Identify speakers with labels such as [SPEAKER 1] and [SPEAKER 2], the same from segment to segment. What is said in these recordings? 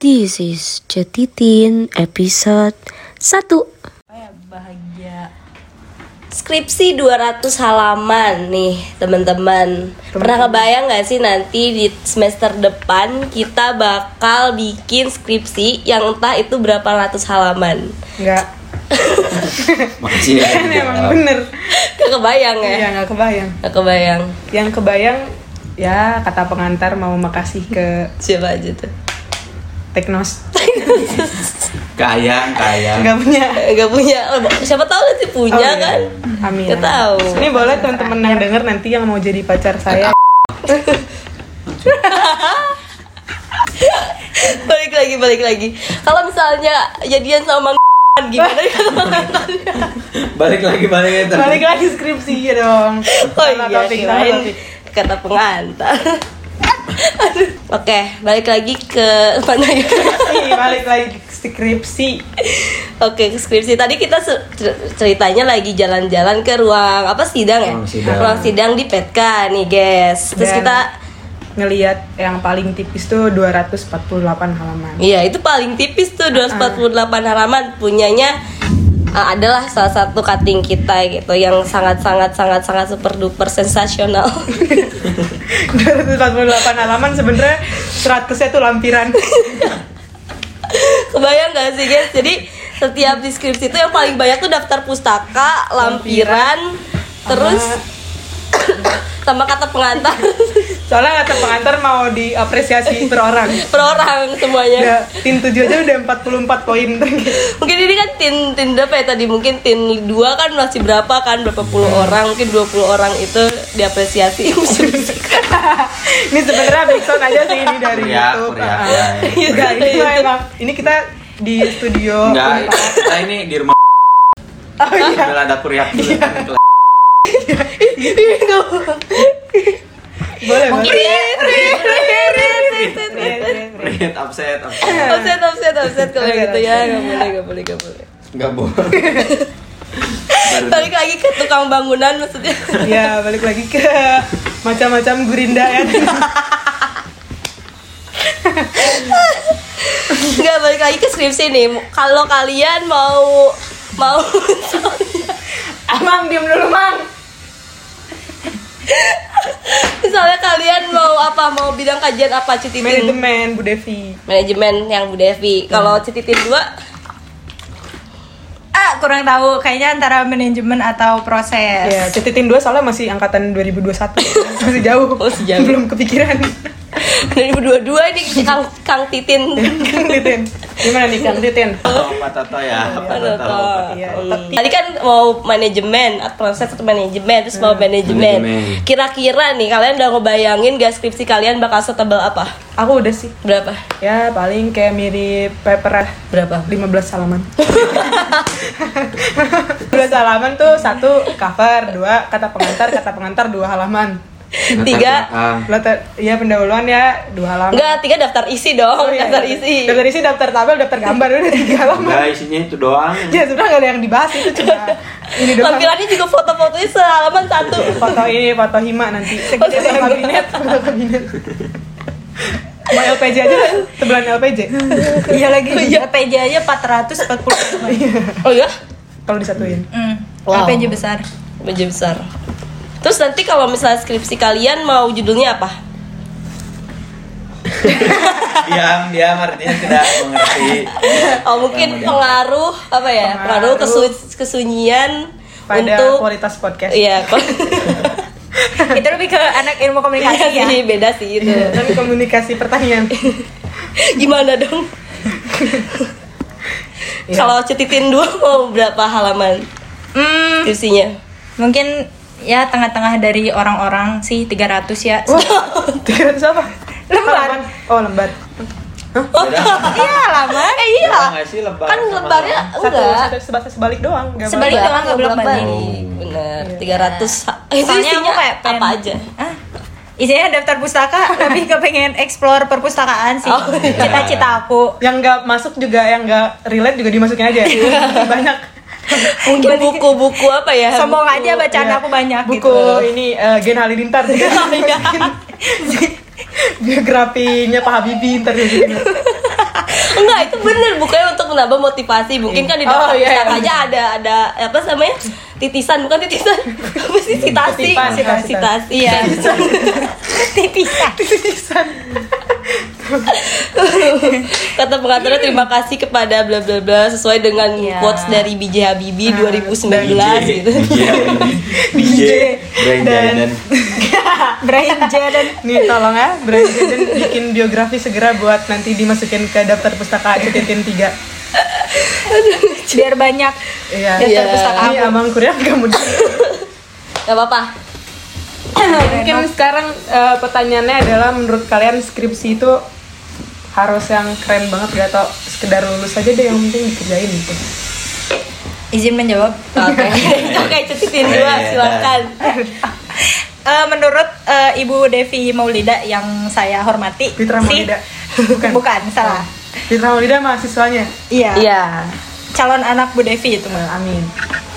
[SPEAKER 1] This is Jatitin episode 1
[SPEAKER 2] Kayak bahagia.
[SPEAKER 1] Skripsi 200 halaman nih teman-teman Pernah kebayang gak sih nanti di semester depan kita bakal bikin skripsi yang entah itu berapa ratus halaman
[SPEAKER 2] Enggak.
[SPEAKER 3] Masih ada
[SPEAKER 1] Kan
[SPEAKER 3] di
[SPEAKER 2] Emang
[SPEAKER 3] dalam.
[SPEAKER 2] bener.
[SPEAKER 1] Gak kebayang ya?
[SPEAKER 2] Iya, nggak kebayang.
[SPEAKER 1] Gak kebayang
[SPEAKER 2] Yang kebayang ya kata pengantar mau makasih ke
[SPEAKER 1] Siapa aja tuh?
[SPEAKER 2] Teknos.
[SPEAKER 3] Kayang, kayang.
[SPEAKER 2] Enggak punya.
[SPEAKER 1] Gak Eh, punya, Oh, siapa tahu nanti punya
[SPEAKER 2] Oh, iya.
[SPEAKER 1] kan?
[SPEAKER 2] Amin.
[SPEAKER 1] Nggak tahu.
[SPEAKER 2] Ini boleh teman-teman yang denger nanti yang mau jadi pacar saya.
[SPEAKER 1] balik lagi balik lagi kalau misalnya jadian sama Mang gimana ya
[SPEAKER 3] Balik lagi, balik lagi.
[SPEAKER 2] Balik lagi skripsi ya dong.
[SPEAKER 1] oh
[SPEAKER 2] Sama
[SPEAKER 1] iya
[SPEAKER 2] topik, sama
[SPEAKER 1] kirain
[SPEAKER 2] topik.
[SPEAKER 1] kata pengantar Aduh. oke balik lagi ke mana ya
[SPEAKER 2] Ih, balik lagi ke skripsi.
[SPEAKER 1] oke ke skripsi tadi kita se- cer- ceritanya lagi jalan-jalan ke ruang apa sidang ya
[SPEAKER 3] Ruang sidang.
[SPEAKER 1] ruang sidang di Petka nih guys terus
[SPEAKER 2] Dan-
[SPEAKER 1] kita
[SPEAKER 2] Ngeliat yang paling tipis tuh 248 halaman.
[SPEAKER 1] iya itu paling tipis tuh 248 halaman punyanya eh, adalah salah satu cutting kita gitu yang sangat sangat sangat sangat super duper sensasional
[SPEAKER 2] 248 halaman sebenarnya 100-nya tuh lampiran.
[SPEAKER 1] Kebayang gak sih guys? Jadi setiap deskripsi itu yang paling banyak tuh daftar pustaka, lampiran, terus sama kata pengantar
[SPEAKER 2] Soalnya kata pengantar mau diapresiasi per orang.
[SPEAKER 1] per orang
[SPEAKER 2] Ya,
[SPEAKER 1] semuanya.
[SPEAKER 2] tim 7 aja udah 44 poin.
[SPEAKER 1] Mungkin ini kan tin tin berapa ya tadi? Mungkin tin 2 kan masih berapa kan berapa puluh orang, mungkin 20 orang itu diapresiasi.
[SPEAKER 2] ini sebenarnya backsound aja sih ini dari
[SPEAKER 3] Kuliah,
[SPEAKER 2] YouTube.
[SPEAKER 3] kuliah,
[SPEAKER 2] Ah.
[SPEAKER 3] kuliah.
[SPEAKER 2] Enggak, ini tuh emang ini kita di studio.
[SPEAKER 3] Enggak,
[SPEAKER 2] Unpad.
[SPEAKER 3] kita ini di rumah
[SPEAKER 2] Oh iya.
[SPEAKER 3] udah ada kuriak dulu.
[SPEAKER 1] Iya.
[SPEAKER 2] Boleh, Iya, boleh.
[SPEAKER 1] Offset,
[SPEAKER 3] Lihat upset,
[SPEAKER 1] Ya,
[SPEAKER 3] upset.
[SPEAKER 1] offset, offset kalau gitu ya. Gak boleh, gak boleh, gak boleh.
[SPEAKER 3] Enggak boleh. Baru
[SPEAKER 1] Balik lagi ke tukang bangunan maksudnya.
[SPEAKER 2] Ya, balik lagi ke macam-macam gurinda ya.
[SPEAKER 1] Nggak balik lagi ke skripsi nih. Kalau kalian mau mau
[SPEAKER 2] Amang diam dulu, Mang.
[SPEAKER 1] misalnya kalian mau apa mau bidang kajian apa cititin
[SPEAKER 2] Manajemen Nah. Bu Devi.
[SPEAKER 1] manajemen yang Bu Devi. Kalau cititin dua
[SPEAKER 4] Ah, kurang tahu. Kayaknya antara manajemen atau proses.
[SPEAKER 1] Iya.
[SPEAKER 2] Ya, cetitin dua soalnya masih angkatan 2021. masih jauh.
[SPEAKER 1] Masih jauh.
[SPEAKER 2] Belum kepikiran.
[SPEAKER 1] 2022 ini Kang Kang Titin.
[SPEAKER 2] Kang Titin gimana nih Kang Titin
[SPEAKER 3] tahu Pak Toto ya, Pak
[SPEAKER 1] Aduh,
[SPEAKER 3] Toto.
[SPEAKER 1] toh.
[SPEAKER 2] Iya.
[SPEAKER 1] Hmm. Tadi kan mau manajemen, proses atau manajemen, terus mau
[SPEAKER 2] Nah,
[SPEAKER 1] manajemen.
[SPEAKER 3] Manajemen.
[SPEAKER 1] Kira-kira nih kalian udah ngebayangin gak skripsi kalian bakal setebal apa?
[SPEAKER 2] aku udah sih
[SPEAKER 1] Berapa?
[SPEAKER 2] ya paling kayak mirip paper
[SPEAKER 1] Berapa?
[SPEAKER 2] 15 halaman 15 halaman tuh satu cover dua kata pengantar kata pengantar dua halaman
[SPEAKER 1] Tiga.
[SPEAKER 3] Ah,
[SPEAKER 2] Latar, ya pendahuluan ya dua halaman
[SPEAKER 1] Enggak, tiga daftar isi dong,
[SPEAKER 2] Oh, iya.
[SPEAKER 1] daftar isi.
[SPEAKER 2] daftar isi daftar tabel daftar gambar udah tiga halaman
[SPEAKER 3] Enggak, ah. isinya itu doang.
[SPEAKER 2] ya sebenarnya nggak ada yang dibahas itu cuma ini doang
[SPEAKER 1] Lampirannya juga foto-fotonya sehalaman satu.
[SPEAKER 2] foto ini foto hima nanti
[SPEAKER 1] Foto
[SPEAKER 2] foto
[SPEAKER 1] hima.
[SPEAKER 2] kabinet foto kabinet mau LPJ aja lah, sebelah LPJ
[SPEAKER 4] Iya lagi. LPJ aja 440.
[SPEAKER 1] Oh ya?
[SPEAKER 2] kalau disatuin
[SPEAKER 4] Hmm.
[SPEAKER 1] Wow.
[SPEAKER 4] LPJ besar.
[SPEAKER 1] Meja besar. Terus nanti kalau misalnya skripsi kalian mau judulnya apa?
[SPEAKER 3] Diam, diam artinya tidak mengerti.
[SPEAKER 1] Oh mungkin pengaruh apa ya? Pengaruh,
[SPEAKER 2] Pengaruh
[SPEAKER 1] kesu- kesunyian
[SPEAKER 2] pada
[SPEAKER 1] untuk
[SPEAKER 2] kualitas podcast
[SPEAKER 1] Iya, kok Iya
[SPEAKER 4] Itu lebih ke anak ilmu komunikasi ya.
[SPEAKER 1] sih beda sih itu.
[SPEAKER 2] dan Iya, komunikasi pertanyaan
[SPEAKER 1] Gimana dong? Kalau cetitin dua mau berapa halaman
[SPEAKER 4] Hmm,
[SPEAKER 1] skripsinya?
[SPEAKER 4] mungkin ya tengah-tengah dari orang-orang sih 300 ya.
[SPEAKER 2] wah tiga ratus apa
[SPEAKER 4] Lembar.
[SPEAKER 2] Halaman. oh lembar
[SPEAKER 4] Iya, lama.
[SPEAKER 1] Eh iya.
[SPEAKER 3] Iya nggak sih lebar?
[SPEAKER 1] Kan
[SPEAKER 3] sama-sama?
[SPEAKER 1] lebarnya
[SPEAKER 2] satu,
[SPEAKER 1] enggak.
[SPEAKER 2] satu sebalik, sebalik doang nggak
[SPEAKER 4] Sebalik.
[SPEAKER 1] Enggak,
[SPEAKER 4] doang, nggak
[SPEAKER 1] nggak
[SPEAKER 4] bolak-balik.
[SPEAKER 3] Oh.
[SPEAKER 1] Bener, 300 ha- Itu
[SPEAKER 4] Soalnya
[SPEAKER 1] isinya
[SPEAKER 4] aku kayak
[SPEAKER 1] apa
[SPEAKER 4] pengen-
[SPEAKER 1] aja?
[SPEAKER 4] Ah, isinya daftar pustaka, lebih ke pengen explore perpustakaan sih.
[SPEAKER 1] Oh, iya.
[SPEAKER 4] Cita-cita aku.
[SPEAKER 2] apa-apa. yang nggak masuk juga yang nggak relate juga dimasukin aja
[SPEAKER 4] Iya.
[SPEAKER 2] banyak
[SPEAKER 1] Mungkin buku-buku apa ya?
[SPEAKER 4] Sombong aja bacaan
[SPEAKER 2] Iya.
[SPEAKER 4] aku banyak
[SPEAKER 2] buku
[SPEAKER 4] gitu. Oh, iya.
[SPEAKER 2] ini eh, Gen Halilintar biografinya Pak Habibie ntar dia bikin.
[SPEAKER 1] Enggak, itu bener bukannya untuk menambah motivasi. Mungkin kan di daftar
[SPEAKER 2] Oh, iya,
[SPEAKER 1] pustaka
[SPEAKER 2] iya.
[SPEAKER 1] aja ada ada apa namanya? Titisan bukan titisan. Apa sih sitasi?
[SPEAKER 2] Titipan,
[SPEAKER 1] Sitasi.
[SPEAKER 2] titipan.
[SPEAKER 1] Sitasi. Iya.
[SPEAKER 4] Titisan.
[SPEAKER 1] Kata pengaturnya terima kasih kepada bla bla bla sesuai dengan
[SPEAKER 4] Iya.
[SPEAKER 1] quotes dari BJ Habibie 2019 gitu.
[SPEAKER 3] DJ, DJ, Brian Jordan.
[SPEAKER 4] Brian Jaden.
[SPEAKER 2] Nih tolong ya, Brian Jaden bikin biografi segera buat nanti dimasukin ke daftar pustaka Cetintin 3
[SPEAKER 4] Biar banyak
[SPEAKER 2] Iya,
[SPEAKER 1] Iya.
[SPEAKER 4] daftar pustaka
[SPEAKER 2] Ini
[SPEAKER 4] aku.
[SPEAKER 2] Abang Kurnia gak mudah
[SPEAKER 1] Gak apa-apa.
[SPEAKER 2] Mungkin sekarang eh, pertanyaannya adalah menurut kalian skripsi itu harus yang keren banget gak atau sekedar lulus aja deh yang penting dikerjain gitu
[SPEAKER 4] Izin menjawab.
[SPEAKER 1] Oke. Oke, cetitin dua
[SPEAKER 3] Iya.
[SPEAKER 1] silakan.
[SPEAKER 4] Eh, menurut eh, Ibu Devi Maulida yang saya hormati,
[SPEAKER 2] Fitra
[SPEAKER 4] sih-
[SPEAKER 2] Maulida Oh.
[SPEAKER 4] bukan, salah.
[SPEAKER 2] Fitra Maulida mahasiswanya
[SPEAKER 4] Iya.
[SPEAKER 1] Iya.
[SPEAKER 4] Calon anak Bu Devi itu.
[SPEAKER 2] Eh, Amin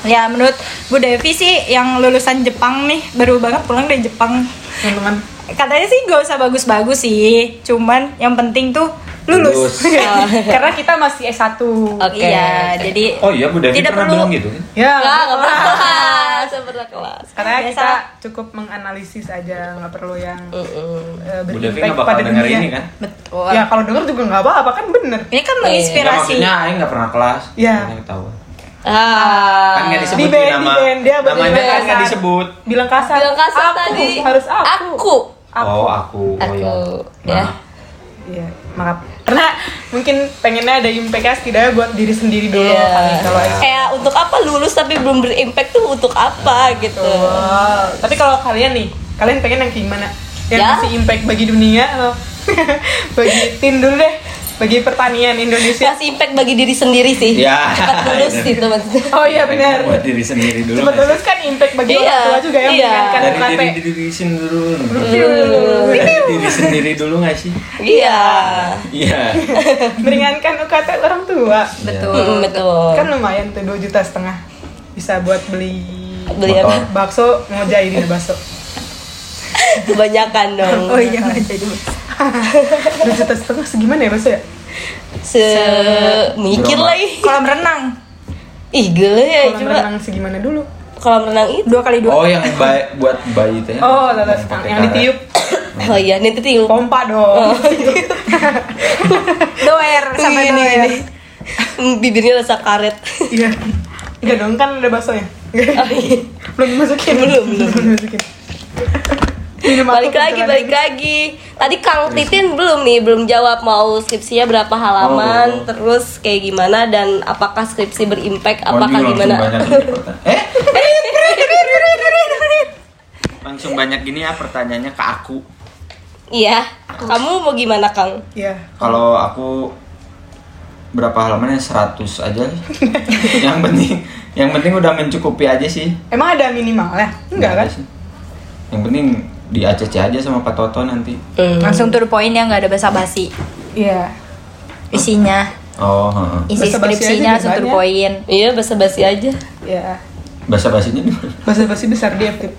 [SPEAKER 4] Ya menurut Bu Devi sih yang lulusan Jepang nih baru banget pulang dari Jepang.
[SPEAKER 2] teman-teman
[SPEAKER 4] Katanya sih gak usah bagus-bagus sih, cuman yang penting tuh lulus. Ya.
[SPEAKER 3] Lulus.
[SPEAKER 2] karena kita masih S1
[SPEAKER 1] Oke.
[SPEAKER 4] Iya, jadi
[SPEAKER 3] Oh iya, Bu Devi
[SPEAKER 4] Tidak
[SPEAKER 3] pernah
[SPEAKER 4] perlu.
[SPEAKER 3] bilang gitu. kan?
[SPEAKER 2] ya
[SPEAKER 1] Enggak, enggak pernah kelas. Nggak pernah kelas.
[SPEAKER 2] karena
[SPEAKER 4] Biasa.
[SPEAKER 2] kita cukup menganalisis aja nggak perlu yang
[SPEAKER 1] Mm-mm.
[SPEAKER 2] eh,
[SPEAKER 3] Bu Devi
[SPEAKER 2] berimpact
[SPEAKER 3] nggak bakal
[SPEAKER 2] pada
[SPEAKER 3] denger
[SPEAKER 2] dunia
[SPEAKER 3] ini kan?
[SPEAKER 4] betul.
[SPEAKER 2] ya kalau denger juga nggak apa-apa kan bener
[SPEAKER 4] Ini kan
[SPEAKER 1] Iya,
[SPEAKER 3] Nggak,
[SPEAKER 4] menginspirasi.
[SPEAKER 3] maksudnya Aing nggak pernah kelas.
[SPEAKER 2] Iya.
[SPEAKER 3] Aing tahu.
[SPEAKER 1] Ah.
[SPEAKER 3] Kan nggak
[SPEAKER 2] Di
[SPEAKER 3] disebut
[SPEAKER 2] band,
[SPEAKER 3] nama.
[SPEAKER 2] di band. Dia berarti
[SPEAKER 3] namanya kan
[SPEAKER 2] band.
[SPEAKER 3] nggak disebut.
[SPEAKER 2] bilang kasar
[SPEAKER 1] Bilang kasar
[SPEAKER 2] Aku,
[SPEAKER 1] tadi.
[SPEAKER 2] harus aku
[SPEAKER 1] Aku.
[SPEAKER 3] Oh aku. Oh, iya.
[SPEAKER 1] Aku,
[SPEAKER 3] Nah,
[SPEAKER 1] ya.
[SPEAKER 2] Iya, maaf. Karena mungkin pengennya ada impact-nya setidaknya buat diri sendiri dulu
[SPEAKER 1] Iya.
[SPEAKER 2] kali kalau gitu.
[SPEAKER 1] Kayak untuk apa lulus tapi belum berimpact tuh untuk apa gitu.
[SPEAKER 2] Wow. Tapi kalau kalian nih, kalian pengen yang kayak gimana? Yang
[SPEAKER 1] Ya.
[SPEAKER 2] kasih impact bagi dunia atau bagi tin dulu deh, bagi pertanian Indonesia.
[SPEAKER 1] Kasih impact bagi diri sendiri sih.
[SPEAKER 2] Iya.
[SPEAKER 3] Ya.
[SPEAKER 1] Cepat lulus gitu maksudnya.
[SPEAKER 2] Oh iya benar.
[SPEAKER 3] Buat diri sendiri dulu.
[SPEAKER 2] Cepat
[SPEAKER 3] Mas.
[SPEAKER 2] lulus kan impact bagi
[SPEAKER 1] Iya,
[SPEAKER 2] orang tua juga ya
[SPEAKER 1] iya.
[SPEAKER 2] mengingatkan
[SPEAKER 3] Dari
[SPEAKER 2] bukan
[SPEAKER 3] diri
[SPEAKER 2] pe-
[SPEAKER 3] diri sendiri dulu. Dari diri sendiri dulu nggak sih?
[SPEAKER 1] Iya.
[SPEAKER 3] Iya.
[SPEAKER 2] meringankan UKT orang tua.
[SPEAKER 4] Betul.
[SPEAKER 1] Mm, Betul.
[SPEAKER 2] Kan lumayan tuh 2 juta setengah bisa buat beli
[SPEAKER 1] Beli apa?
[SPEAKER 3] Motor.
[SPEAKER 2] bakso ngojai di bakso.
[SPEAKER 1] Kebanyakan dong.
[SPEAKER 4] Oh iya nggak jadi.
[SPEAKER 2] 2 juta setengah segimana ya bakso ya?
[SPEAKER 1] Se mikir
[SPEAKER 3] Beroma.
[SPEAKER 1] lagi.
[SPEAKER 4] Kolam renang
[SPEAKER 1] Ih, gele ya
[SPEAKER 2] Kolam
[SPEAKER 1] coba.
[SPEAKER 2] renang segimana dulu?
[SPEAKER 1] Kolam renang itu.
[SPEAKER 4] dua kali dua.
[SPEAKER 3] Oh yang ba- buat bayi teh. ya?
[SPEAKER 2] Oh, lalas yang,
[SPEAKER 3] Yang pakai
[SPEAKER 2] yang
[SPEAKER 3] karet.
[SPEAKER 2] ditiup
[SPEAKER 1] Oh iya, nanti tinggal
[SPEAKER 2] pompa
[SPEAKER 1] Oh.
[SPEAKER 2] dong.
[SPEAKER 4] Doer
[SPEAKER 1] Iya,
[SPEAKER 4] sampai
[SPEAKER 1] Ini,
[SPEAKER 4] doer.
[SPEAKER 1] ini. Mm, bibirnya rasa karet.
[SPEAKER 2] Iya. Enggak dong kan ada baksonya.
[SPEAKER 1] Oh, iya.
[SPEAKER 2] belum dimasukin.
[SPEAKER 1] Belum, belum.
[SPEAKER 2] dimasukin. Minum aku
[SPEAKER 1] balik lagi,
[SPEAKER 2] kebetulan
[SPEAKER 1] balik
[SPEAKER 2] ini.
[SPEAKER 1] lagi. Tadi Kang Titin belum nih, belum jawab mau skripsinya berapa halaman,
[SPEAKER 3] Oh.
[SPEAKER 1] terus kayak gimana dan apapah skripsi berimpact,
[SPEAKER 3] Oh,
[SPEAKER 1] apakah
[SPEAKER 3] ini langsung
[SPEAKER 1] gimana?
[SPEAKER 3] banyak gini pertanyaan. Eh? langsung banyak gini ya pertanyaannya ke aku.
[SPEAKER 1] Iya, kamu mau gimana Kang?
[SPEAKER 2] Iya.
[SPEAKER 3] Kalau aku berapa halamannya 100 aja. yang penting yang penting udah mencukupi aja sih.
[SPEAKER 2] Emang ada minimal ya? Enggak kan?
[SPEAKER 3] Ada sih. Yang penting di ACC aja sama Pak Toto nanti.
[SPEAKER 4] Langsung to the point ya nggak ada basa-basi.
[SPEAKER 2] Iya.
[SPEAKER 4] Isinya,
[SPEAKER 3] Oh, heeh.
[SPEAKER 4] isi
[SPEAKER 2] Basa-basi aja
[SPEAKER 4] skripsinya langsung to the
[SPEAKER 2] banyak.
[SPEAKER 4] point.
[SPEAKER 1] Iya, basa-basi aja.
[SPEAKER 2] Iya.
[SPEAKER 3] Bahasa-bahasanya di mana?
[SPEAKER 2] Basa-basi besar dia Fit.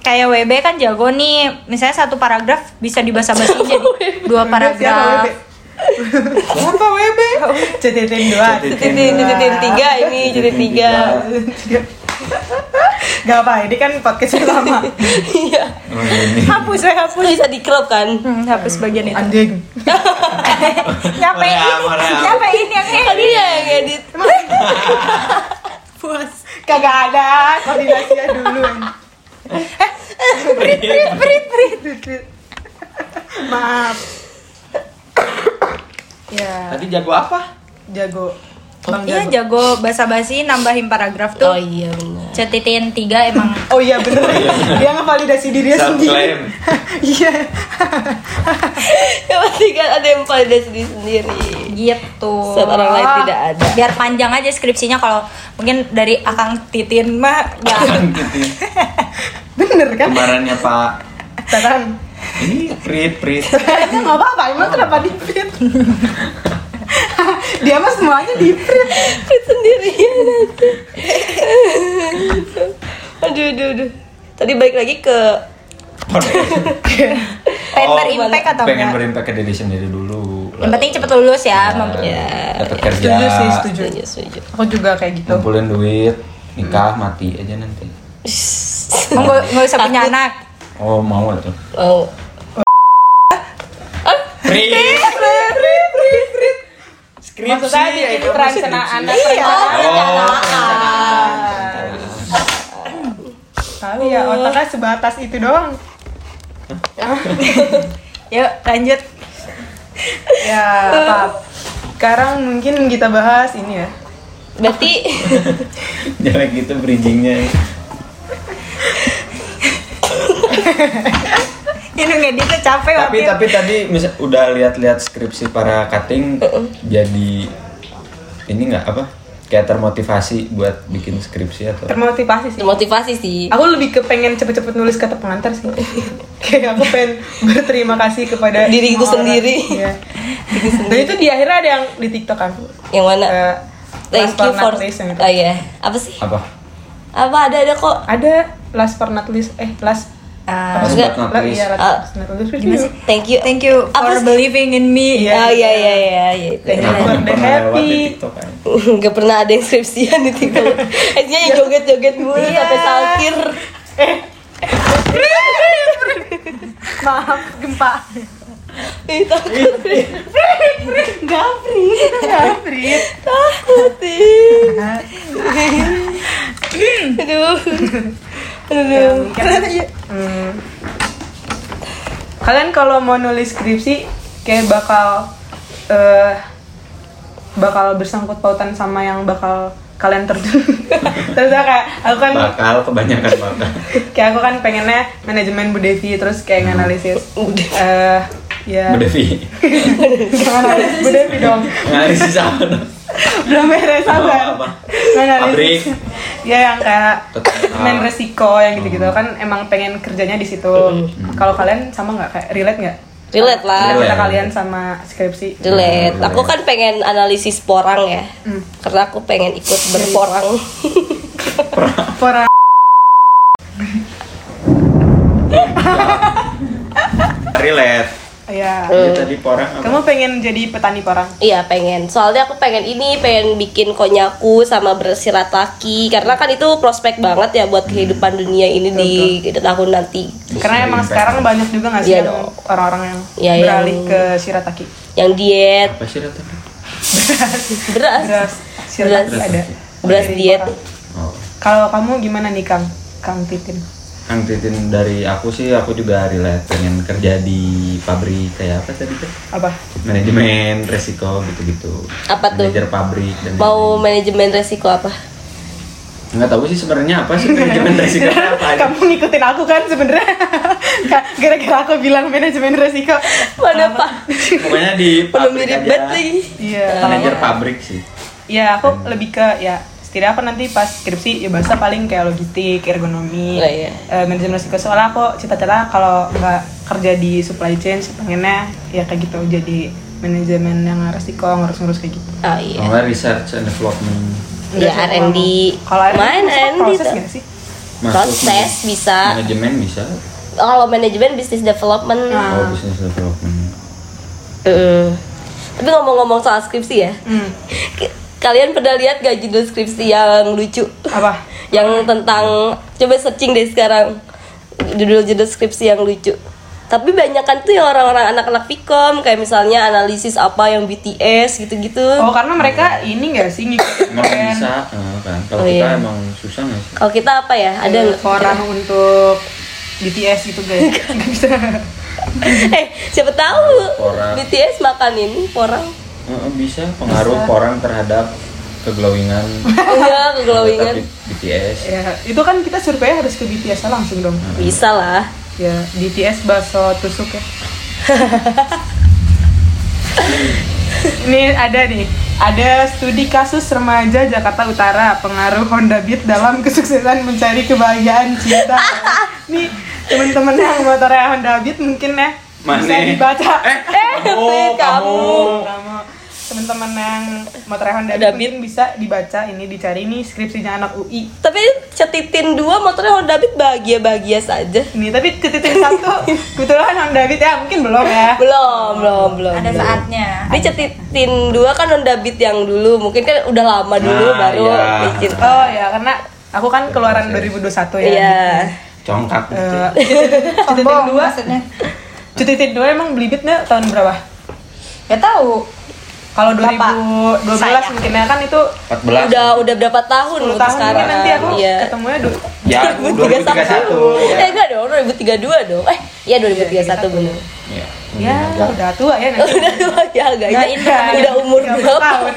[SPEAKER 4] kayak WB kan jago nih misalnya satu paragraf bisa dibahas basi jadi
[SPEAKER 1] Oh,
[SPEAKER 4] dua
[SPEAKER 2] Siapa WB?
[SPEAKER 4] paragraf
[SPEAKER 2] Siapa WB? CTTN
[SPEAKER 4] Ah,
[SPEAKER 2] 2.
[SPEAKER 3] CTTN.
[SPEAKER 1] Titin, titin tiga ini, titin
[SPEAKER 3] Titin
[SPEAKER 1] tiga.
[SPEAKER 2] Gak apa, ini kan podcastnya lama
[SPEAKER 1] Iya.
[SPEAKER 3] Oh, ini.
[SPEAKER 4] hapus we hapus
[SPEAKER 1] Terus bisa dikrop kan?
[SPEAKER 4] hmm, hapus bagian itu
[SPEAKER 2] Anjing
[SPEAKER 4] nyapain
[SPEAKER 3] Moream,
[SPEAKER 4] ini
[SPEAKER 3] moream.
[SPEAKER 4] nyapain yang
[SPEAKER 1] Kan
[SPEAKER 4] ini
[SPEAKER 1] dia yang edit.
[SPEAKER 4] puas
[SPEAKER 2] Kagak ada koordinasinya dulu
[SPEAKER 4] Eh, berit berit
[SPEAKER 2] Maaf Ya
[SPEAKER 3] Tadi jago apa?
[SPEAKER 2] jago Bang
[SPEAKER 4] iya
[SPEAKER 2] jago.
[SPEAKER 4] jago basa basi nambahin paragraf
[SPEAKER 1] Oh
[SPEAKER 4] tuh
[SPEAKER 1] iya benar.
[SPEAKER 4] cetitin tiga emang
[SPEAKER 2] Oh iya bener Dia ngevalidasi dirinya sendiri
[SPEAKER 3] Self-claim.
[SPEAKER 2] Iya
[SPEAKER 1] Yang penting kan ada yang validasi diri sendiri.
[SPEAKER 4] gitu
[SPEAKER 1] Set orang lain tidak ada.
[SPEAKER 4] biar panjang aja skripsinya kalau mungkin dari akang titin mah nggak
[SPEAKER 3] Kan gitu.
[SPEAKER 2] Bener kan
[SPEAKER 3] Kemarannya Pak
[SPEAKER 2] Taran
[SPEAKER 3] Ini prit prit.
[SPEAKER 2] Kayaknya nggak apa-apa Emang kenapa di print Dia mah semuanya di print
[SPEAKER 1] Fit sendirian aja. aduh, aduh, aduh. Tadi balik lagi ke
[SPEAKER 4] pengen berimpact atau
[SPEAKER 3] pengen Oh,
[SPEAKER 4] enggak
[SPEAKER 3] berimpact Iya. ke diri sendiri dulu.
[SPEAKER 4] Yang penting cepet lulus ya. Mem-
[SPEAKER 3] Dapat kerja,
[SPEAKER 2] Setuju sih, setuju.
[SPEAKER 1] Setuju, setuju.
[SPEAKER 2] Aku juga kayak gitu.
[SPEAKER 3] ngumpulin duit, nikah, mati aja nanti.
[SPEAKER 4] Emang nggak- nggak usah punya anak.
[SPEAKER 3] Oh mau tuh.
[SPEAKER 1] Oh,
[SPEAKER 3] Pri. Skripsi.
[SPEAKER 2] Maksudnya Iya. di sini
[SPEAKER 3] kamu
[SPEAKER 2] perencanaan
[SPEAKER 3] skripsi.
[SPEAKER 4] Iya.
[SPEAKER 2] perencanaan.
[SPEAKER 3] Oh,
[SPEAKER 2] Tahu ya otaknya sebatas itu doang.
[SPEAKER 4] Yuk lanjut.
[SPEAKER 2] Ya, apa? Sekarang mungkin kita bahas ini ya.
[SPEAKER 1] berarti
[SPEAKER 3] jelek gitu bridgingnya.
[SPEAKER 4] Ini nggak dia tuh capek
[SPEAKER 3] tapi
[SPEAKER 4] waktu
[SPEAKER 3] tapi tadi misal, udah lihat-lihat skripsi para cutting
[SPEAKER 2] Uh-uh.
[SPEAKER 3] jadi ini nggak apa kayak termotivasi buat bikin skripsi atau
[SPEAKER 2] Termotivasi sih.
[SPEAKER 1] motivasi sih.
[SPEAKER 2] Aku lebih ke pengen cepet-cepet nulis kata pengantar sih. Kayak aku pengen berterima kasih kepada
[SPEAKER 1] Diriku
[SPEAKER 2] orang.
[SPEAKER 1] sendiri.
[SPEAKER 2] Iya. Dan itu di akhirnya ada yang di TikTok aku.
[SPEAKER 1] Yang mana?
[SPEAKER 2] Eh,
[SPEAKER 1] Nah, Thank
[SPEAKER 2] last
[SPEAKER 1] you
[SPEAKER 2] but
[SPEAKER 1] for.
[SPEAKER 2] not least yang itu.
[SPEAKER 1] Oh iya. Apa sih?
[SPEAKER 3] apa
[SPEAKER 1] Apa ada ada kok?
[SPEAKER 2] Ada last but not least eh last
[SPEAKER 1] Ah,
[SPEAKER 3] Last
[SPEAKER 1] enggak.
[SPEAKER 3] but not
[SPEAKER 2] la-
[SPEAKER 3] least.
[SPEAKER 2] iya, last
[SPEAKER 1] Ah.
[SPEAKER 2] but not least.
[SPEAKER 1] Gimana sih? Thank you.
[SPEAKER 4] itu. Thank you
[SPEAKER 1] Apa
[SPEAKER 4] for
[SPEAKER 1] sih?
[SPEAKER 4] believing in me.
[SPEAKER 2] Iya.
[SPEAKER 1] Oh iya iya iya iya, itu.
[SPEAKER 3] Kenapa
[SPEAKER 2] Happy
[SPEAKER 3] nggak pernah
[SPEAKER 2] birthday,
[SPEAKER 3] lewat di
[SPEAKER 2] happy.
[SPEAKER 3] TikTok aja?
[SPEAKER 1] Gak pernah ada yang skripsian di TikTok Akhirnya yang joget-joget mulu sampai saltir
[SPEAKER 2] Maaf gempa.
[SPEAKER 1] Ih, takut Gapri
[SPEAKER 2] Iya. Jafri.
[SPEAKER 1] Takut ih. Aduh Aduh
[SPEAKER 2] Hmm. Kalian kalau mau nulis skripsi kayak bakal eh bakal bersangkut pautan sama yang bakal kalian terjun. terus aku kayak aku kan
[SPEAKER 3] bakal kebanyakan bakal
[SPEAKER 2] kayak aku kan pengennya manajemen Bu Devi terus kayak
[SPEAKER 3] Hmm.
[SPEAKER 2] nganalisis eh ya
[SPEAKER 3] berdevi
[SPEAKER 2] jangan nganalisis Bu Devi dong.
[SPEAKER 3] analisis apa
[SPEAKER 2] Belum beres sabar.
[SPEAKER 3] Apa? Pabrik.
[SPEAKER 2] Nganalisis. Ya yang kayak
[SPEAKER 3] Tetap. Hmm.
[SPEAKER 2] men resiko yang gitu-gitu kan emang pengen kerjanya di situ. Kalau kalian sama nggak kayak relate nggak?
[SPEAKER 1] Relate lah
[SPEAKER 3] Relate.
[SPEAKER 2] Cerita kalian sama skripsi.
[SPEAKER 1] Relate Aku kan pengen analisis porang ya Karena aku pengen ikut berporang
[SPEAKER 3] Nah.
[SPEAKER 2] Pora.
[SPEAKER 3] relate
[SPEAKER 1] Oh.
[SPEAKER 2] Ya.
[SPEAKER 3] Dia tadi porang apa
[SPEAKER 2] Kamu pengen jadi petani porang?
[SPEAKER 1] Iya pengen, soalnya aku pengen ini, pengen bikin konyaku sama bersirat laki Karena kan itu prospek banget ya buat kehidupan dunia ini di tahun nanti
[SPEAKER 2] Karena emang sekarang banyak juga nggak sih
[SPEAKER 1] Iya
[SPEAKER 2] yang
[SPEAKER 1] dong.
[SPEAKER 2] orang-orang yang
[SPEAKER 1] Iya,
[SPEAKER 2] beralih
[SPEAKER 1] yang-
[SPEAKER 2] ke shirataki.
[SPEAKER 1] Yang diet,
[SPEAKER 3] apa sih rata
[SPEAKER 1] beras,
[SPEAKER 2] Beras shirataki
[SPEAKER 1] Beras.
[SPEAKER 2] ada.
[SPEAKER 1] beras
[SPEAKER 2] Dari
[SPEAKER 1] diet
[SPEAKER 2] porang.
[SPEAKER 3] oh
[SPEAKER 2] Kalau kamu gimana nih Kang? Kang Titin.
[SPEAKER 3] Kang Titin dari aku sih aku juga relate pengen kerja di pabrik kayak apa tadi kan
[SPEAKER 2] Apa?
[SPEAKER 3] manajemen resiko gitu-gitu
[SPEAKER 1] Apa tuh?
[SPEAKER 3] manajer pabrik dan
[SPEAKER 1] Mau manajemen resiko apa?
[SPEAKER 3] nggak tahu sih sebenarnya apa sih manajemen resiko apa aja
[SPEAKER 2] Kamu ngikutin aku kan sebenarnya. Ka- Gara-gara aku bilang manajemen resiko.
[SPEAKER 1] Mana pak? Eh,
[SPEAKER 3] pokoknya di
[SPEAKER 1] Belum
[SPEAKER 3] pabrik
[SPEAKER 1] mirip
[SPEAKER 3] aja
[SPEAKER 1] banget lagi
[SPEAKER 2] Iya.
[SPEAKER 3] manajer pabrik sih
[SPEAKER 2] Iya, aku
[SPEAKER 3] Hmm.
[SPEAKER 2] lebih ke ya setidaknya aku nanti pas skripsi ya bahasa paling kayak logistik,
[SPEAKER 1] Oh,
[SPEAKER 2] ergonomi,
[SPEAKER 1] iya.
[SPEAKER 2] eh, manajemen resiko soalnya aku cita-cita kalau nggak kerja di supply chain pengennya ya kayak gitu jadi manajemen yang resiko ngurus-ngurus kayak gitu.
[SPEAKER 1] Oh iya
[SPEAKER 3] Pokoknya research and development
[SPEAKER 1] Ya R&D
[SPEAKER 2] Kalau R&D
[SPEAKER 1] Main
[SPEAKER 2] masuk
[SPEAKER 1] R&D
[SPEAKER 2] proses
[SPEAKER 1] tuh.
[SPEAKER 2] nggak sih?
[SPEAKER 1] Proses
[SPEAKER 3] di-
[SPEAKER 1] bisa.
[SPEAKER 3] manajemen bisa
[SPEAKER 1] Kalau manajemen business development
[SPEAKER 3] oh bisnis development
[SPEAKER 1] Mm. Tapi ngomong-ngomong soal skripsi ya
[SPEAKER 2] Hmm,
[SPEAKER 1] K- Kalian pernah lihat gak judul skripsi yang lucu?
[SPEAKER 2] apa?
[SPEAKER 1] Yang tentang Coba searching deh sekarang Judul-judul skripsi yang lucu Tapi banyak kan tuh yang orang-orang anak-anak Pikom Kayak misalnya analisis apa yang BTS gitu-gitu
[SPEAKER 2] Oh karena mereka ini nggak sih ngikutin
[SPEAKER 3] emang
[SPEAKER 2] tren,
[SPEAKER 3] bisa eh, kan
[SPEAKER 1] Oh,
[SPEAKER 3] kalau kita
[SPEAKER 1] iya.
[SPEAKER 3] emang susah nggak sih
[SPEAKER 1] Kalau kita apa ya? Ada nggak?
[SPEAKER 2] orang untuk BTS gitu guys. Nggak bisa.
[SPEAKER 1] eh siapa tahu
[SPEAKER 3] Porang.
[SPEAKER 1] BTS makan ini porang
[SPEAKER 3] Eh, eh, bisa pengaruh orang terhadap keglowingan
[SPEAKER 1] enggak keglowingan
[SPEAKER 3] anggota BTS
[SPEAKER 2] Ya, itu kan kita survei harus ke BTS -nya langsung dong.
[SPEAKER 1] bisa lah
[SPEAKER 2] Ya, BTS bakso tusuk ya. Ini ada nih, ada studi kasus remaja Jakarta Utara pengaruh Honda Beat dalam kesuksesan mencari kebahagiaan cinta. nih teman-teman yang motornya Honda Beat mungkin ya
[SPEAKER 3] Mana?
[SPEAKER 2] bisa dibaca.
[SPEAKER 3] Eh,
[SPEAKER 1] kamu.
[SPEAKER 3] kamu, kamu.
[SPEAKER 2] Kamu, teman-teman teman-teman yang Matrahan dan
[SPEAKER 1] Dabit.
[SPEAKER 2] mungkin bisa dibaca ini dicari ini skripsinya anak UI
[SPEAKER 1] Tapi cetitin dua motornya Honda Beat bahagia-bahagia saja.
[SPEAKER 2] ini tapi cetitin satu kebetulan Honda Beat ya mungkin belum ya
[SPEAKER 1] Belum, belum, belum.
[SPEAKER 4] Ada saatnya.
[SPEAKER 1] Ini cetitin dua kan Honda Beat yang dulu. Mungkin kan udah lama dulu
[SPEAKER 3] Nah,
[SPEAKER 1] baru
[SPEAKER 3] iya.
[SPEAKER 1] bikin.
[SPEAKER 2] oh ya karena aku kan keluaran 2021 ya
[SPEAKER 1] Iya.
[SPEAKER 3] Congkak gitu.
[SPEAKER 2] Eh, cetitin
[SPEAKER 4] Sombong
[SPEAKER 2] dua
[SPEAKER 4] maksudnya.
[SPEAKER 2] cetitin dua emang belibitnya tahun berapa
[SPEAKER 4] Ya tahu.
[SPEAKER 2] kalau
[SPEAKER 4] Bapak,
[SPEAKER 2] 2012
[SPEAKER 4] saya.
[SPEAKER 2] mungkin ya kan itu
[SPEAKER 3] 14.
[SPEAKER 1] Udah udah berapa tahun
[SPEAKER 2] 10
[SPEAKER 1] untuk
[SPEAKER 2] tahun
[SPEAKER 1] sekarang?
[SPEAKER 2] mungkin nanti aku
[SPEAKER 1] Iya.
[SPEAKER 2] ketemunya du-
[SPEAKER 3] Ya, 2031.
[SPEAKER 1] Eh enggak dong, 2032 dong. Eh, iya 2031 bener.
[SPEAKER 3] Ya,
[SPEAKER 2] ya
[SPEAKER 3] enggak.
[SPEAKER 2] udah tua ya nanti
[SPEAKER 1] Udah tua ya agak
[SPEAKER 2] Nah,
[SPEAKER 1] ya.
[SPEAKER 2] iya.
[SPEAKER 1] Udah umur
[SPEAKER 2] 30 tahun.
[SPEAKER 1] berapa?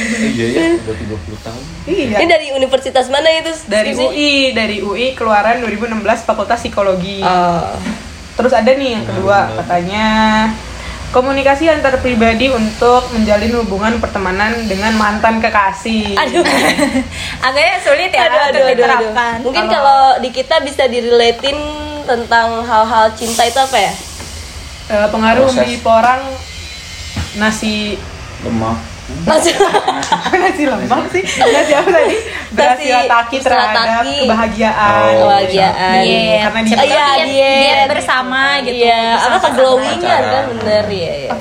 [SPEAKER 3] Iya, ya, udah 30 tahun.
[SPEAKER 2] iya
[SPEAKER 1] Ini dari universitas mana itu?
[SPEAKER 2] dari
[SPEAKER 1] skripsi?
[SPEAKER 2] UI dari UI keluaran 2016 Fakultas Psikologi
[SPEAKER 1] Ah.
[SPEAKER 2] terus ada nih yang kedua katanya komunikasi antar pribadi untuk menjalin hubungan pertemanan dengan mantan kekasih
[SPEAKER 1] aduh.
[SPEAKER 4] Agaknya sulit ya
[SPEAKER 1] aduh, aduh,
[SPEAKER 4] untuk
[SPEAKER 1] aduh, aduh.
[SPEAKER 4] diterapkan.
[SPEAKER 1] Mungkin kalau di kita bisa direlatin tentang hal-hal cinta itu apa ya?
[SPEAKER 2] Eh, pengaruh
[SPEAKER 3] Proses.
[SPEAKER 2] di porang nasi
[SPEAKER 3] Lemah.
[SPEAKER 1] Maksud-
[SPEAKER 2] nasi lemak sih nasi apa tadi
[SPEAKER 1] Nasi
[SPEAKER 2] berasilataki terhadap
[SPEAKER 1] sirataki.
[SPEAKER 2] kebahagiaan
[SPEAKER 3] Oh.
[SPEAKER 1] kebahagiaan.
[SPEAKER 4] Diet.
[SPEAKER 2] Karena kan,
[SPEAKER 4] Siapa
[SPEAKER 2] diet.
[SPEAKER 4] tahu
[SPEAKER 1] Iya,
[SPEAKER 4] diet,
[SPEAKER 1] diet.
[SPEAKER 4] diet bersama gitu.
[SPEAKER 1] Iya, apa
[SPEAKER 4] Bersama-sama.
[SPEAKER 1] keglowingan kan
[SPEAKER 3] Pacaran.
[SPEAKER 1] bener ya. ya.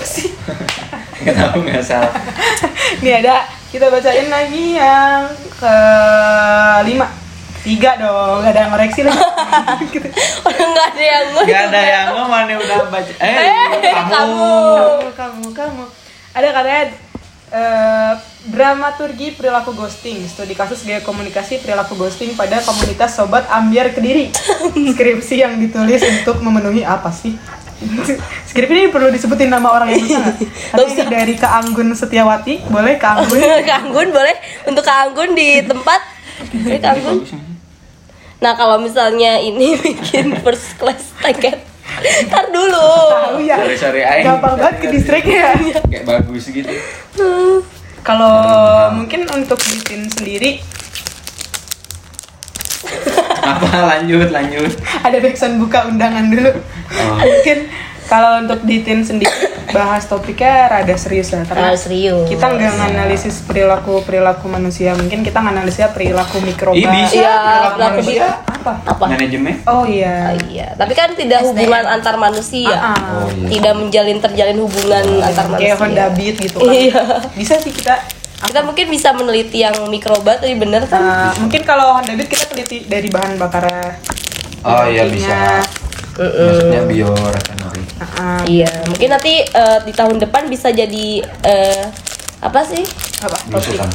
[SPEAKER 3] Enggak tahu enggak salah.
[SPEAKER 2] Nih ada kita bacain lagi yang ke lima tiga dong gak ada yang ngoreksi lagi
[SPEAKER 1] Orang nggak ada yang
[SPEAKER 3] Enggak ada yang ngomong nih udah baca. Eh, kamu.
[SPEAKER 2] kamu kamu kamu ada katanya eh, dramaturgi perilaku ghosting studi kasus gaya komunikasi perilaku ghosting pada komunitas sobat ambiar kediri skripsi yang ditulis untuk memenuhi apa sih skripsi ini perlu disebutin nama orang yang bisa nggak? Karena ini dari Kak Anggun Setiawati boleh Kak Anggun
[SPEAKER 1] Kak Anggun boleh untuk Kak Anggun di tempat Ini Kak Anggun. Nah kalau misalnya ini bikin first class tiket Ntar dulu
[SPEAKER 2] tahu ya
[SPEAKER 3] Sorry, sorry, Aing.
[SPEAKER 2] gampang banget ke distrik ya
[SPEAKER 3] Kayak bagus gitu.
[SPEAKER 2] kalau mungkin untuk di tim sendiri
[SPEAKER 3] Apa lanjut, lanjut.
[SPEAKER 2] ada backsound buka undangan dulu
[SPEAKER 3] Oh.
[SPEAKER 2] mungkin kalau untuk di tim sendiri bahas topiknya rada serius lah karena
[SPEAKER 1] Terlalu serius
[SPEAKER 2] kita nggak nganalisis perilaku perilaku manusia mungkin kita nganalisa perilaku mikroba
[SPEAKER 3] Ih, bisa.
[SPEAKER 1] Iya,
[SPEAKER 2] perilaku
[SPEAKER 1] perilaku
[SPEAKER 2] manusia
[SPEAKER 1] mikro.
[SPEAKER 2] apa
[SPEAKER 1] Apa?
[SPEAKER 3] Manajemen?
[SPEAKER 2] oh iya
[SPEAKER 1] Iya, tapi kan tidak hubungan antar manusia
[SPEAKER 2] Ah,
[SPEAKER 3] Oh, iya.
[SPEAKER 1] Tidak menjalin terjalin hubungan antar
[SPEAKER 2] kayak Honda
[SPEAKER 1] manusia
[SPEAKER 2] Beat gitu kan
[SPEAKER 1] Iya.
[SPEAKER 2] bisa sih kita
[SPEAKER 1] Kita mungkin bisa meneliti yang mikroba tadi bener kan?
[SPEAKER 2] uh, mungkin kalau Honda Beat kita teliti dari bahan bakar
[SPEAKER 3] Oh iya bisa.
[SPEAKER 2] Uh-uh.
[SPEAKER 3] Maksudnya bio refinery.
[SPEAKER 2] uh,
[SPEAKER 1] Iya, mungkin nanti eh, di tahun depan bisa jadi eh, apa sih?
[SPEAKER 2] apa
[SPEAKER 3] Belusukan.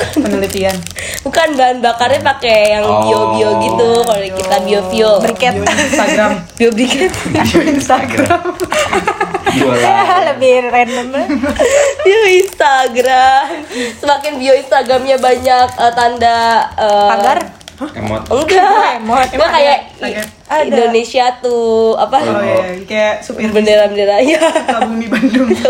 [SPEAKER 3] Eh,
[SPEAKER 2] penelitian
[SPEAKER 1] Bukan bahan bakarnya pakai yang bio-bio
[SPEAKER 3] Oh.
[SPEAKER 1] gitu kalau di kita bio-fuel.
[SPEAKER 2] Di
[SPEAKER 4] Iya.
[SPEAKER 2] Instagram
[SPEAKER 1] Bio briket.
[SPEAKER 2] Di Instagram
[SPEAKER 3] Jualan.
[SPEAKER 4] lebih random banget.
[SPEAKER 1] bio Instagram. Semakin bio Instagramnya banyak eh, tanda eh,
[SPEAKER 4] pagar
[SPEAKER 3] Emot.
[SPEAKER 1] Enggak.
[SPEAKER 4] Emot.
[SPEAKER 1] Emang kayak i-
[SPEAKER 2] Instagram?
[SPEAKER 1] Ada. Indonesia tuh apa?
[SPEAKER 2] oh ya kayak supir
[SPEAKER 1] Bendera-bendera ya.
[SPEAKER 2] Sukabumi Bandung
[SPEAKER 1] Iya.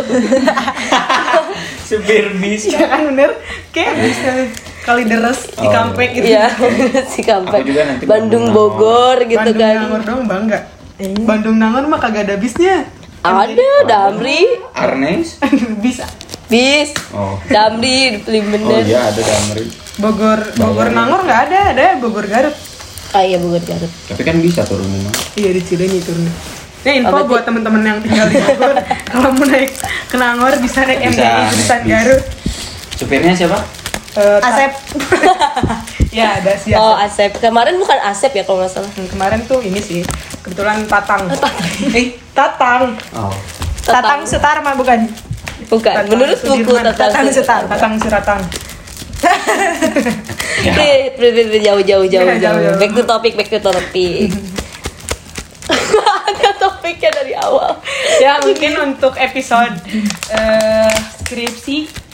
[SPEAKER 3] Supir bis.
[SPEAKER 2] ya kan bener kayak bis kali- kali deres di
[SPEAKER 3] Oh,
[SPEAKER 2] kampek gitu
[SPEAKER 1] Iya, si kampret.
[SPEAKER 3] Aku juga nanti
[SPEAKER 1] Bandung
[SPEAKER 3] Bandung
[SPEAKER 1] Bogor gitu
[SPEAKER 2] Bandung
[SPEAKER 1] kan. Iya.
[SPEAKER 2] Nangor dong bangga Bandung Nangor mah kagak ada bisnya
[SPEAKER 1] Ada Damri,
[SPEAKER 3] Arnes.
[SPEAKER 2] bis
[SPEAKER 1] bis.
[SPEAKER 3] Oh.
[SPEAKER 1] Damri beli
[SPEAKER 3] Oh
[SPEAKER 1] bener.
[SPEAKER 3] iya ada Damri.
[SPEAKER 2] Bogor Bogor Nangor nggak ada ada ya Bogor Garut
[SPEAKER 1] Ah iya Bogor Garut.
[SPEAKER 3] Tapi kan bisa turun rumah.
[SPEAKER 2] iya di Cilenyi turun Ini
[SPEAKER 1] Oh,
[SPEAKER 2] info buat temen-temen yang tinggal di Bogor kalau mau naik ke Nangor bisa naik
[SPEAKER 3] Bisa
[SPEAKER 2] MDI
[SPEAKER 3] naik
[SPEAKER 2] jurusan
[SPEAKER 3] bis.
[SPEAKER 2] Garut
[SPEAKER 3] Supirnya siapa?
[SPEAKER 2] Eh, ta-
[SPEAKER 4] Asep
[SPEAKER 2] ya ada sih
[SPEAKER 1] Oh
[SPEAKER 3] Iya.
[SPEAKER 2] Asep.
[SPEAKER 1] Asep. Kemarin bukan Asep ya kalau nggak salah.
[SPEAKER 2] Hmm, kemarin tuh ini sih kebetulan Tatang
[SPEAKER 3] Eh.
[SPEAKER 2] Tatang
[SPEAKER 3] Oh.
[SPEAKER 4] Tatang Sutarma bukan
[SPEAKER 1] Bukan.
[SPEAKER 2] Tatang
[SPEAKER 1] Menurut buku
[SPEAKER 2] Sudirman.
[SPEAKER 1] Tatang
[SPEAKER 4] Tatang
[SPEAKER 1] Sutar.
[SPEAKER 4] Sutarma.
[SPEAKER 2] Tatang Suratang
[SPEAKER 3] Ya.
[SPEAKER 1] Eh, pri- pri- pri- Jauh jauh jauh
[SPEAKER 2] Iya, jauh,
[SPEAKER 1] jauh.
[SPEAKER 2] jauh.
[SPEAKER 1] Back to topic, back to topic. Ada topiknya dari awal.
[SPEAKER 2] ya mungkin untuk episode eh, skripsi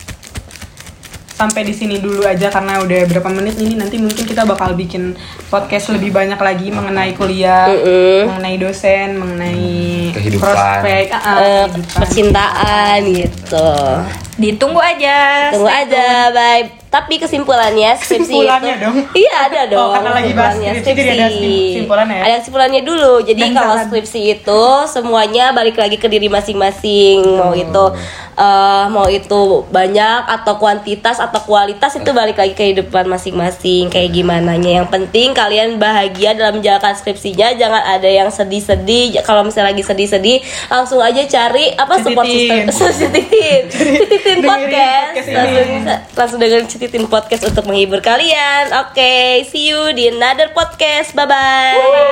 [SPEAKER 2] sampai di sini dulu aja karena udah berapa menit ini nanti mungkin kita bakal bikin podcast lebih banyak lagi mengenai kuliah,
[SPEAKER 1] Mm-mm.
[SPEAKER 2] mengenai dosen, mengenai
[SPEAKER 3] Kehidupan.
[SPEAKER 2] prospek, ah, ah,
[SPEAKER 1] Eh,
[SPEAKER 2] kehidupan.
[SPEAKER 1] percintaan gitu.
[SPEAKER 4] ditunggu aja
[SPEAKER 1] Tunggu aja, bye. Tapi kesimpulannya skripsi
[SPEAKER 2] Kesimpulannya
[SPEAKER 1] itu-
[SPEAKER 2] dong?
[SPEAKER 1] Iya ada dong.
[SPEAKER 2] karena lagi bahas
[SPEAKER 1] kesimpulannya,
[SPEAKER 2] skripsi, jadi ada kesimpulannya ya?
[SPEAKER 1] Ada kesimpulannya dulu. Jadi
[SPEAKER 2] Dan
[SPEAKER 1] kalau
[SPEAKER 2] saran. Hmm.
[SPEAKER 1] skripsi itu semuanya balik lagi ke diri masing-masing. Mau itu eh, mau itu banyak atau kuantitas atau kualitas itu balik lagi ke kehidupan masing-masing kayak gimana yang penting kalian bahagia dalam menjalankan skripsinya jangan ada yang sedih-sedih Ja- kalau misalnya lagi sedih-sedih langsung aja cari apa support
[SPEAKER 2] Cititin.
[SPEAKER 1] system cititin cititin
[SPEAKER 2] Dengerin
[SPEAKER 1] podcast
[SPEAKER 2] podcast ini.
[SPEAKER 1] langsung langsung dengerin cititin podcast untuk menghibur kalian oke see you di another podcast bye bye